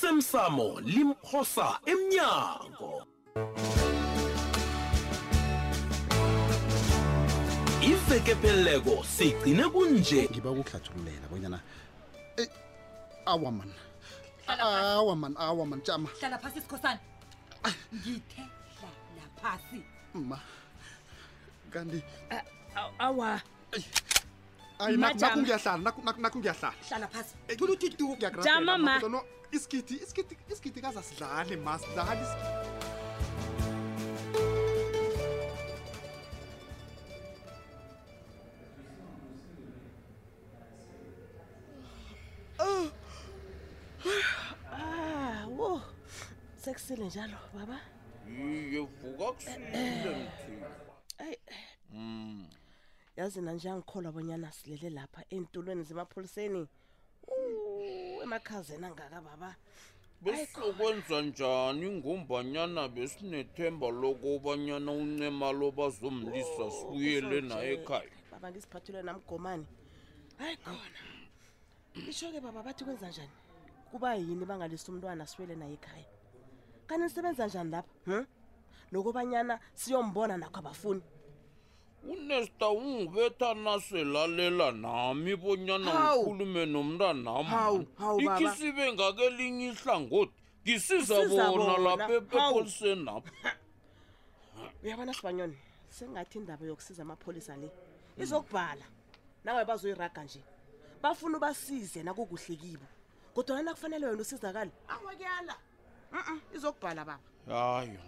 osemsamo limphosa emnyango iveke pheleleko sigcine kunje ngiba ukuhlathululela bonyana Eh, awa man awa man awa man jama hlala phasi sikhosana ngithe hlala phasi ma kanti awa ayi Ma, nakhu- jama. nakhu ngiyahlala nakhu- nakhu- nakhu ngiyahlala hlala phasi Eh, thula utitu Ngiyakurabhela, Jama, ma. madoda, no, isigidi isigidi isigidi kaza sidlale ma sidlale isigidi. Ah, wo. Sekusile njalo baba. iye vuka kusile mthini Ayi. Eh, Yazi na nje angikholwa bonyana silele eh, lapha entulweni zemapholiseni. Uh, emakhazeni angaka baba. besinokwenza njani ngombanyana besinethemba lokobanyana uncema lo bazomlisa sibuyele naye eh, 어, ekhaya Baba ngisiphathule namgomani. Hayi khona. Isho ke baba bathi kwenza njani? Kuba yini bangalisa umntwana siwele naye ekhaya? Kani nisebenza njani lapha? Hm? Nokubanyana siyombona nakho abafuni. unesta ungibetha naselalela nami bonyana Hawu. ngikhulume nomntanam Hawu, hawu, baba. ikhisibe ngakelinye ihlangothi ngisiza Ngisiza bona bona. lapha Hawu. epepolisenapha uyabona sibanyoni sengathi indaba yokusiza amapholisa le izokubhala nawe bazoyiraga nje bafuna ubasize nakukuhle kibo kodwana nakufanele wena usizakale awakuyala mm izokubhala baba hayi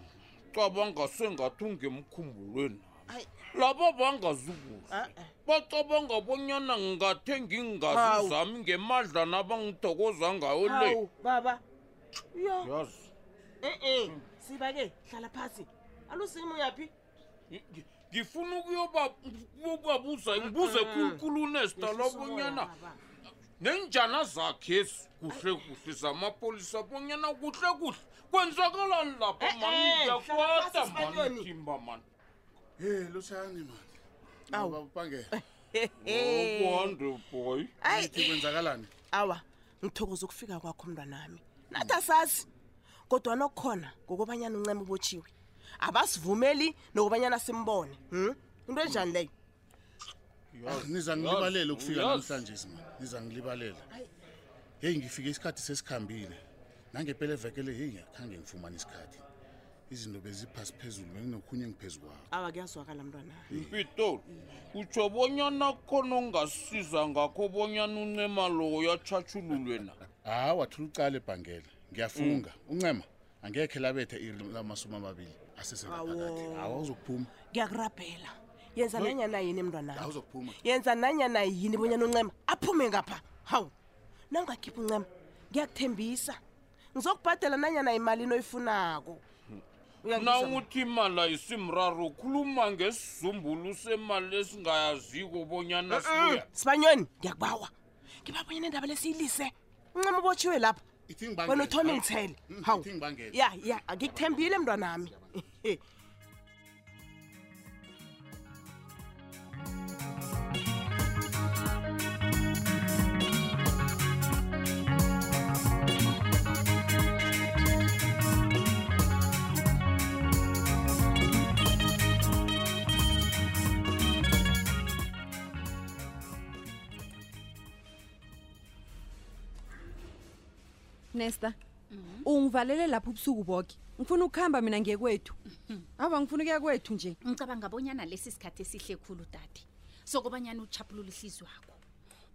cabanga sengathi ungemkhumbulweni Ayi. laba bangazi kuhle Ah, eh. bacabanga bonyana ngingathe ngingazi Hawu. zami ngemadla nabangithokoza ngayo le hawu baba yo yazi e-e siba-ke hlala phasi alusimo yaphi ngi- ngi- ngifuna ukuyoba- ukuyobabuza ngibuze Mm. khulukhulu unesta labonyana nenjana zakhe ezi kuhle kuhle zamapolisa bonyana kuhle kuhle kwenzakalani lapha Eh, mani eh, hlala phasi, ngiyakwata Sibanyoni. mani timba mani Eh lutshani man. Awu. Baba Pangela, Eh. okwande boy ithi kwenzakalani? awa ngithokoza ukufika kwakho mntwanami nathi asazi kodwa nokukhona ngokobanyana uncema ubotshiwe abasivumeli nokobanyana simbone hm into enjani leyo Yazi, nizangilibalele yazi, ukufika yazi. namhlanje man nizangilibalela heyi ngifike isikhathi sesikhambile nangempela evekele heyi ngiyakhange ngifumane isikhathi izinto beziphasi phezulu benginokhunye engiphezu kwawo awa kuyazwakala mntwanami mpitoli utsho bonyana khona ongasiza ngakho bonyana uncema loyo atshatshululwe na hawa thula ucala ebhangela ngiyafunga uncema angekhe labethe iri lamasumi amabili asesengaphakathi Awo. hawa uzokuphuma ngiyakurabhela yenza nanyana yini mntwanami awuzokuphuma yenza nanyana yini bonyana uncema aphume ngapha hawu nangakhiphi uncema ngiyakuthembisa ngizokubhadela nanyana imalini oyifunako Uyangizwa, na ma? uthi imali ayisimraro ukhuluma ngesizumbulu semali esingayaziko Ah, bonyana sibuya sibanyoni ngiyakubawa ngibabonyana indaba lesiyilise uncema ubotshiwe lapha ithi wena uthome ngithele hawu ithi ngibangele ya ya ngikuthembile mntwanami nesta ungivalele lapho ubusuku boke ngifuna ukuhamba mina ngekwethu aba ngifuna ukuya kwethu nje ngicabanga bonyana lesi sikhathi esihle khulu dade sokobanyana uchapulula ihliziyo wakho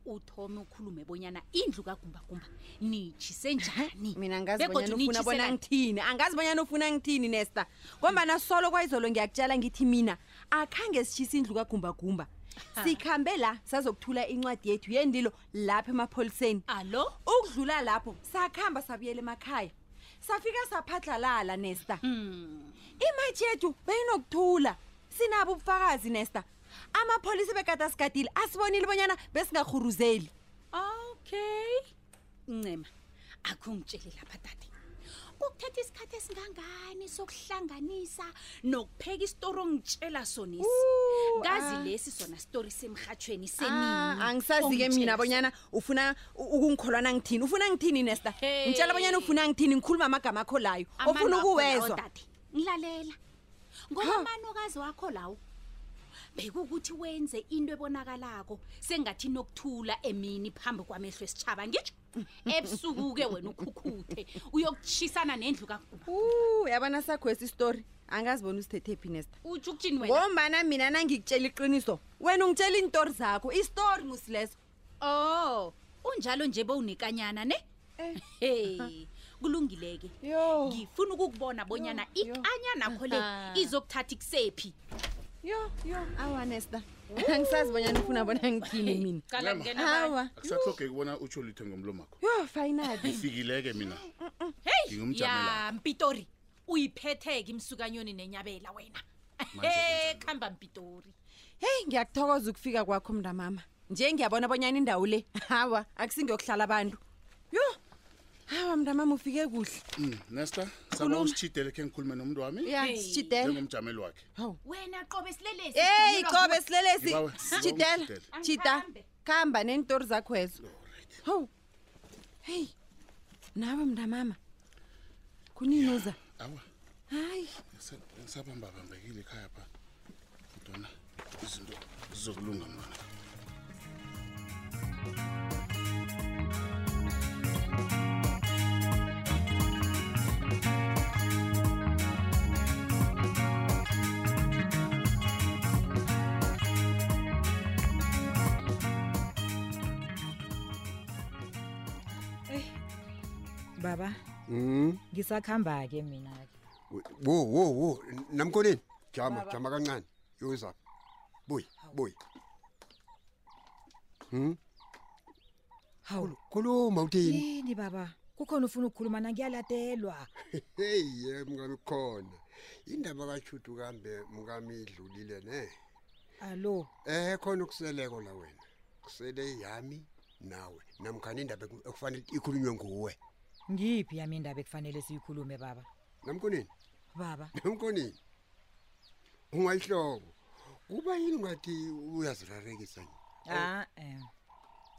uthome ukhulume bonyana indlu kagumbagumba nitshise njani mina ngazi Begodu bonyana ufuna bona nitjhiselani? ngithini angazi bonyana ufuna ngithini nesta ngombana solo kwayizolo ngiyakutshela ngithi mina akhange sitshise indlu kagumbagumba sikhambe la sazokuthula incwadi yethu yendilo lapha emapholiseni alo ukudlula lapho sakhamba sabuyela emakhaya safika saphadlalala nesta Hmm. imatshi yethu beyinokuthula sinabo ubufakazi nesta amapholisa bekata sigadile asibonile bonyana besingahuruzeli okay ncema akungitshele lapha dade kuthetha isikhathi esingangani sokuhlanganisa nokupheka isitori ongitshela sonesi kazi lesi sona sitori semrhatshweni Ah, Mmm, semini angisazi-ke mina ongitjela bonyana ufuna u- ukungikholwana ngithini ufuna ngithini nesta ngitshela bonyana ufuna ngithini ngikhuluma amagama akho layo sona. ofuna Amano akho lawo, ukuwezwa dade, oh, ngilalela ngoba amanokazi wakho lawo bekukuthi wenze into ebonakalako sengathi nokuthula emini phambi kwamehlo esitshaba ngitsho ebusuku-ke wena ukhukhuthe uyokutshisana nendlu kakuba u yabona sakhwesi isitori angazibona usithethephi nesta utsho ukutshini wena ngombana mina nangikutshela iqiniso wena ungitshela iintori zakho isitori ngusileso Oh, unjalo nje bowunekanyana ne? Eh. Hey, kulungileke. yo Ngifuna ukukubona bonyana Yo, yo. ikanyana kho le izokuthatha ikusephi. yo yo awa nesta angisazi bonyana ufuna bona ngithini mina Qala ngena ba. awa akusahlogeki bona utsho litho ngomlomakho yo finali ngifikile-ke mina Hey, Ngingumjamelana. ya Mpitori. Uyiphetheke imsukanyoni nenyabela wena. Manje Eh, kunjani? khamba Mpitori. heyi ngiyakuthokoza ukufika kwakho mntamama nje ngiyabona bonyana indawo le hawa akusingiyokuhlala abantu yo hawa mntamama ufike kuhle Mm, nesta saba usitshidele khe ngikhulume nomuntu wami ya sitshidela njengomjameli wakhe Wena qobe silelesi. eyi sidunyelwa qobe nguwe. silelesi Ngibawe, ngibawe sitshidela usitshidele. tshida Angikhambe. kuhamba neentori zakhwezo howu heyi nawe mntamama kunini uza awa hayi ngisabambabambekile ekhaya pha kodwana izinto zizokulunga mntwana baba Mm. ngisakuhamba-ke mina-ke wo wo wo namkoneni jama jama kancane yoza buyi buyi hmm hawu khuluma uthini yini baba kukhona ufuna ukukhuluma nangiyaladelwa hey ye mngami khona indaba kashudu kambe mngami idlulile ne alo eh khona ukuseleko la wena kusele yami nawe namkhani indaba eku- ekufanele ikhulunywe nguwe ngiphi yami indaba ekufanele siyikhulume baba namkoneni baba namkoneni ungayihloko kuba yini ngathi uyazirarekisa nje Oh. a-e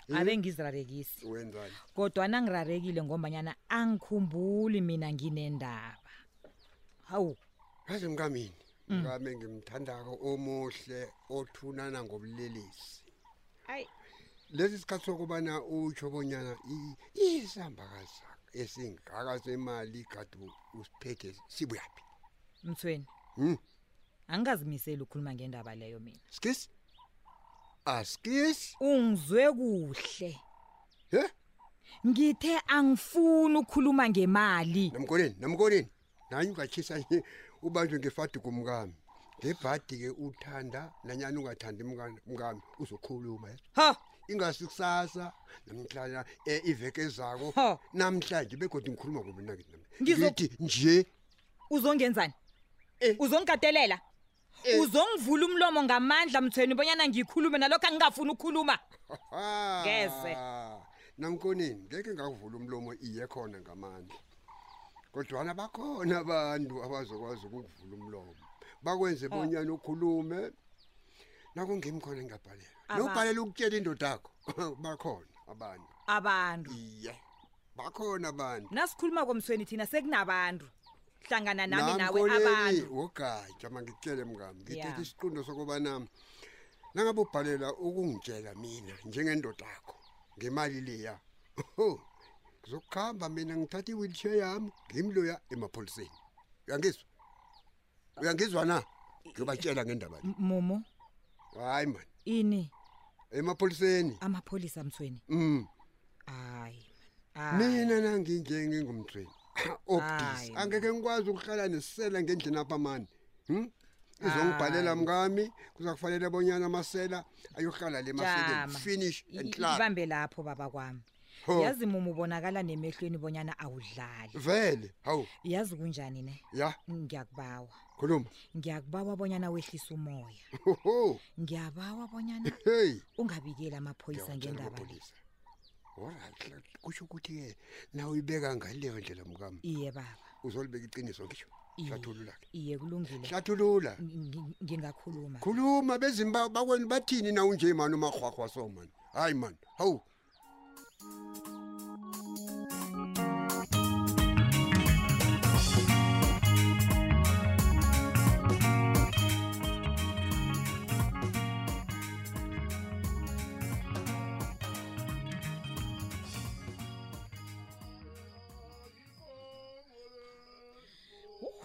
eh. abe ngizirarekisi wenzani kodwa nangirarekile ngombanyana angikhumbuli mina nginendaba hawu yazi mkamini Mm. mkami ngimthandako omuhle othunana ngobulelesi Ayi. lesi sikhathi sokubana utsho bonyana i- isihambakazi sakho esingaka semali kade usiphethe sibuyaphi mthweni Hmm. angikazimiseli ukukhuluma ngendaba leyo mina skis askis ungizwe kuhle he ngithe angifuni ukukhuluma ngemali namkoneni namkoneni nanye ungatshisa nje ubanjwe ngefadi kumkami ngebhadi-ke uthanda nanyani ungathandi mka- mkami uzokhuluma yezo ha ingasi kusasa namhlanje eh, iveke zako Ha. namhlanje begodi ngikhuluma kumina ke nami Ngizo- ngithi nje uzongenzani Eh. uzongikatelela Eh. uzongivula umlomo ngamandla mthweni bonyana ngikhulume nalokho angingafuni ukukhuluma ha, Ngeze. namkoneni ngeke ngakuvula umlomo iye khona ngamandla kodwana bakhona abantu abazokwazi ukukuvula umlomo bakwenze Oh. bonyana ukhulume nakungimi khona ngingabhalela Aba- nobhalela ukutshela indoda akho bakhona abantu abantu iye bakhona abantu nasikhuluma komthweni thina sekunabantu hlangana nami nawe Namkoleli, abantu wogatsha mangitshele mngami ngithethe Ya. isiqundo sokubana nangabe ubhalela ukungitshela mina njengendoda akho ngemali leya ho ngizokuhamba mina ngithathe i-wheelchair yami ngimloya emapholiseni uyangizwa uyangizwa na ngiyobatshela ngendaba le M- momo hayi mani ini emapholiseni amapholisa mthweni um hayi mina nanginje ngingumthweni obudisi Hayi. angeke ngikwazi ukuhlala nesisela ngendlini apha mani hm izongibhalela Hayi. mkami kuza kufanele bonyana amasela ayohlala le maseleni finish and club ibambe lapho baba kwami Ho. yazi muma ubonakala nemehlweni bonyana awudlali vele hawu yazi kunjani ne ya ngiyakubawa khuluma ngiyakubawa bonyana wehlise umoya hoho ngiyabawa bonyana hey ungabikeli amaphoyisa ngendaba le ngendaba alright kusho ukuthi-ke nawe uyibeka ngaleyo ndlela mkami iye baba uzolibeka iqiniso ngisho Iye. hlathulula-ke iye kulungile hlathulula Ngi- ngi- ngingakhuluma khuluma bezimi ba- bakwenu bathini na unje mani umarhwarhwa so mani hayi mani hawu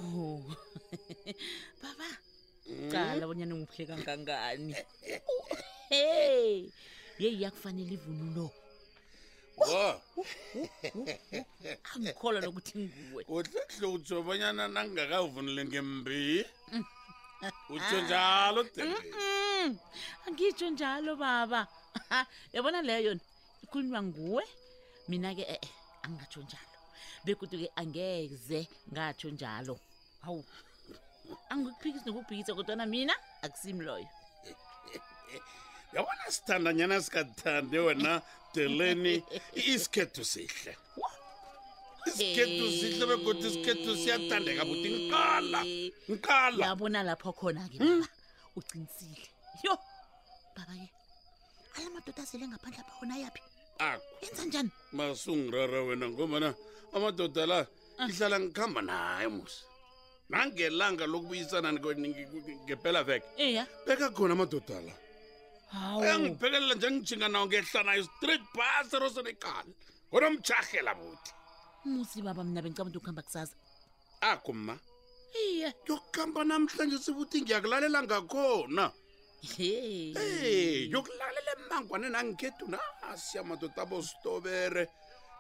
Oh. baba cala bonyana ngibuhle kangangani hey yeyi yakufanele ivunulo wa angikholwa nokuthi nguwe uhlehle utsho obanyana nangingakavunile ngembi utsho njalo Thembi. Mm, angitsho njalo baba Ha, yabona leyo yona ikhulunywa nguwe mina-ke e-e angingatsho njalo bekuthi-ke angeze ngatsho njalo hawu angikuphikisi nokuphikisa kodwana mina akusimi loyo yabona sithandanyana sikathande wena deleni isikhethu sihle isikhethu sihle begodwa isikhethu siyathandeka buti ngiqala ngiqala yabona lapho khona-ke baba ucinisile yo baba-ke ala madoda azele ngaphandle apha wona yaphi akho yenza njani masungirara wena ngombana amadoda la ngihlala ngikhamba naye musa nangelanga lokubuyisana nge- nge- nge- ngempela veke iya beka khona amadoda la hawu ayangiphekelela njengijinga nawo ngehla nayo street bus erosenekala ngonomjahela buthi musi baba mina bengicabanga ukuthi ukuhamba kusasa akho ma iye yokuhamba namhlanje sibuthi ngiyakulalela ngakhona hey Eh, yokulalela emangwane nangikhethu nasi amadoda abositobere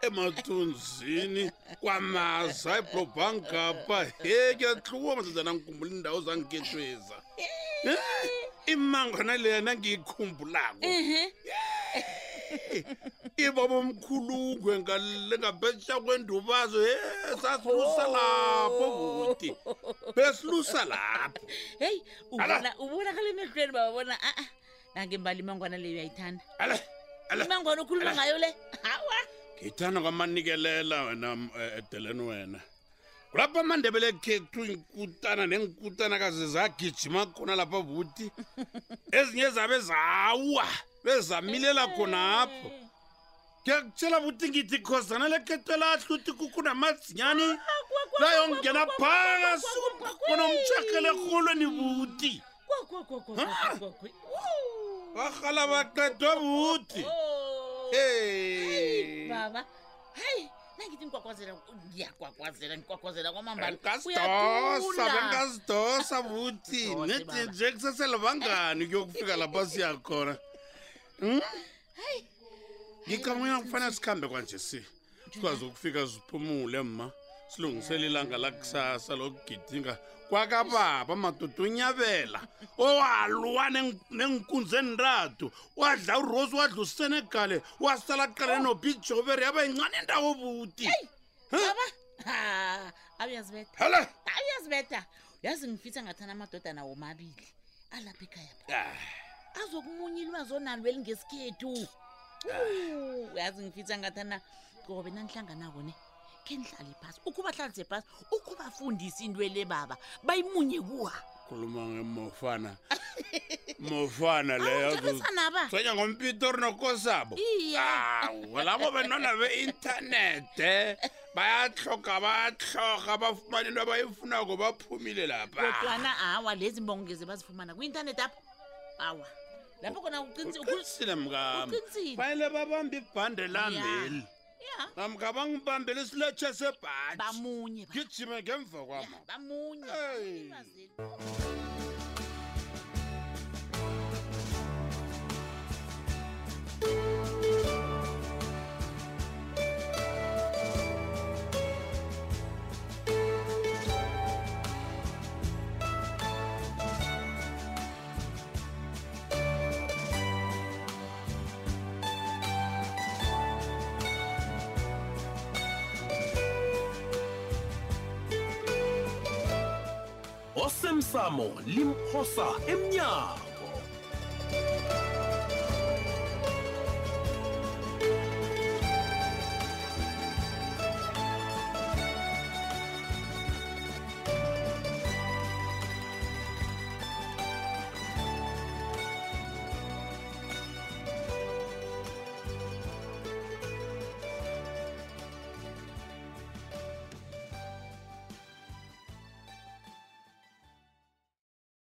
emathunzini kwamaza ebrobhangapha he kuyahluwa madlazana ngikhumbula iindawo zangikhethweza imangwana leya nangiyikhumbulako ibabomkhulungwe ngalengaphesha kwendubazo he sasilusa lapho buti besilusa lapho heyi ubona ubonakala emehlweni bababona a-a nange mbali imangwana leyo uyayithanda imangwana okhuluma ngayo le hawa ngithanda kwamanikelela wena m- eh, edeleni wena kulapho amandebele ekhethu inkutana nenkutanakazi zagijima khona lapha buti ezinye zabe zawa bezamilela khonapho ngiyakutshela buti ngithi khozana lekhethu elahluthi kukunamazinyani layongena phakasi kunomtshakele erholweni buti bahala baqedwe buti hey baba hayi nangithi ngikwakwazela ngiyakwakwazela ngikwakwazela kwamambala bengasidosa bengasidosa buthi nethi nje kuseselibangani kuyokufika lapha siya khona Hmm? ngicabanga kufanele sikhambe kwanje si sikwazi ukufika siphumule ma silungisele ilanga lakusasa lokugidinga kwakababa madoda unyabela owaluwa nenkunzi enrathu wadla urosi wadla usenegale wasala qalene nobijobere yaba yincane indawo buti baba ha awuyazibetha Hala! awuyazibetha yazi ngifisa ngathana amadoda nawo mabili alapha ekhaya Ah. azokumunya ilwazi onalo elingesikhethu Wu, yazi ngifisa ngathana qobe nanihlanganako ne khe nihlale phasi ukuba hlalise phasi ukuba fundisa into ele baba bayimunye kuwa khuluma ngemofana mofana leyo Awujabisana ba. zonya ngompito rinokosabo Iye. awu labo bentwana beintanethi bayahloga bayahloga bafumane into abayifunako baphumile lapha kodwana hawa lezi mbongo ngeze bazifumana kwi-intanethi apho hawa lapho khona uqinisi uqinisile mkami Uqinisile. fanele babambe ibhande lambeli ya namka bangibambele isilethe sebhathi bamunye ngijime ngemva kwama bamunye Ilwazi eli. osemsamo limphosa emnyango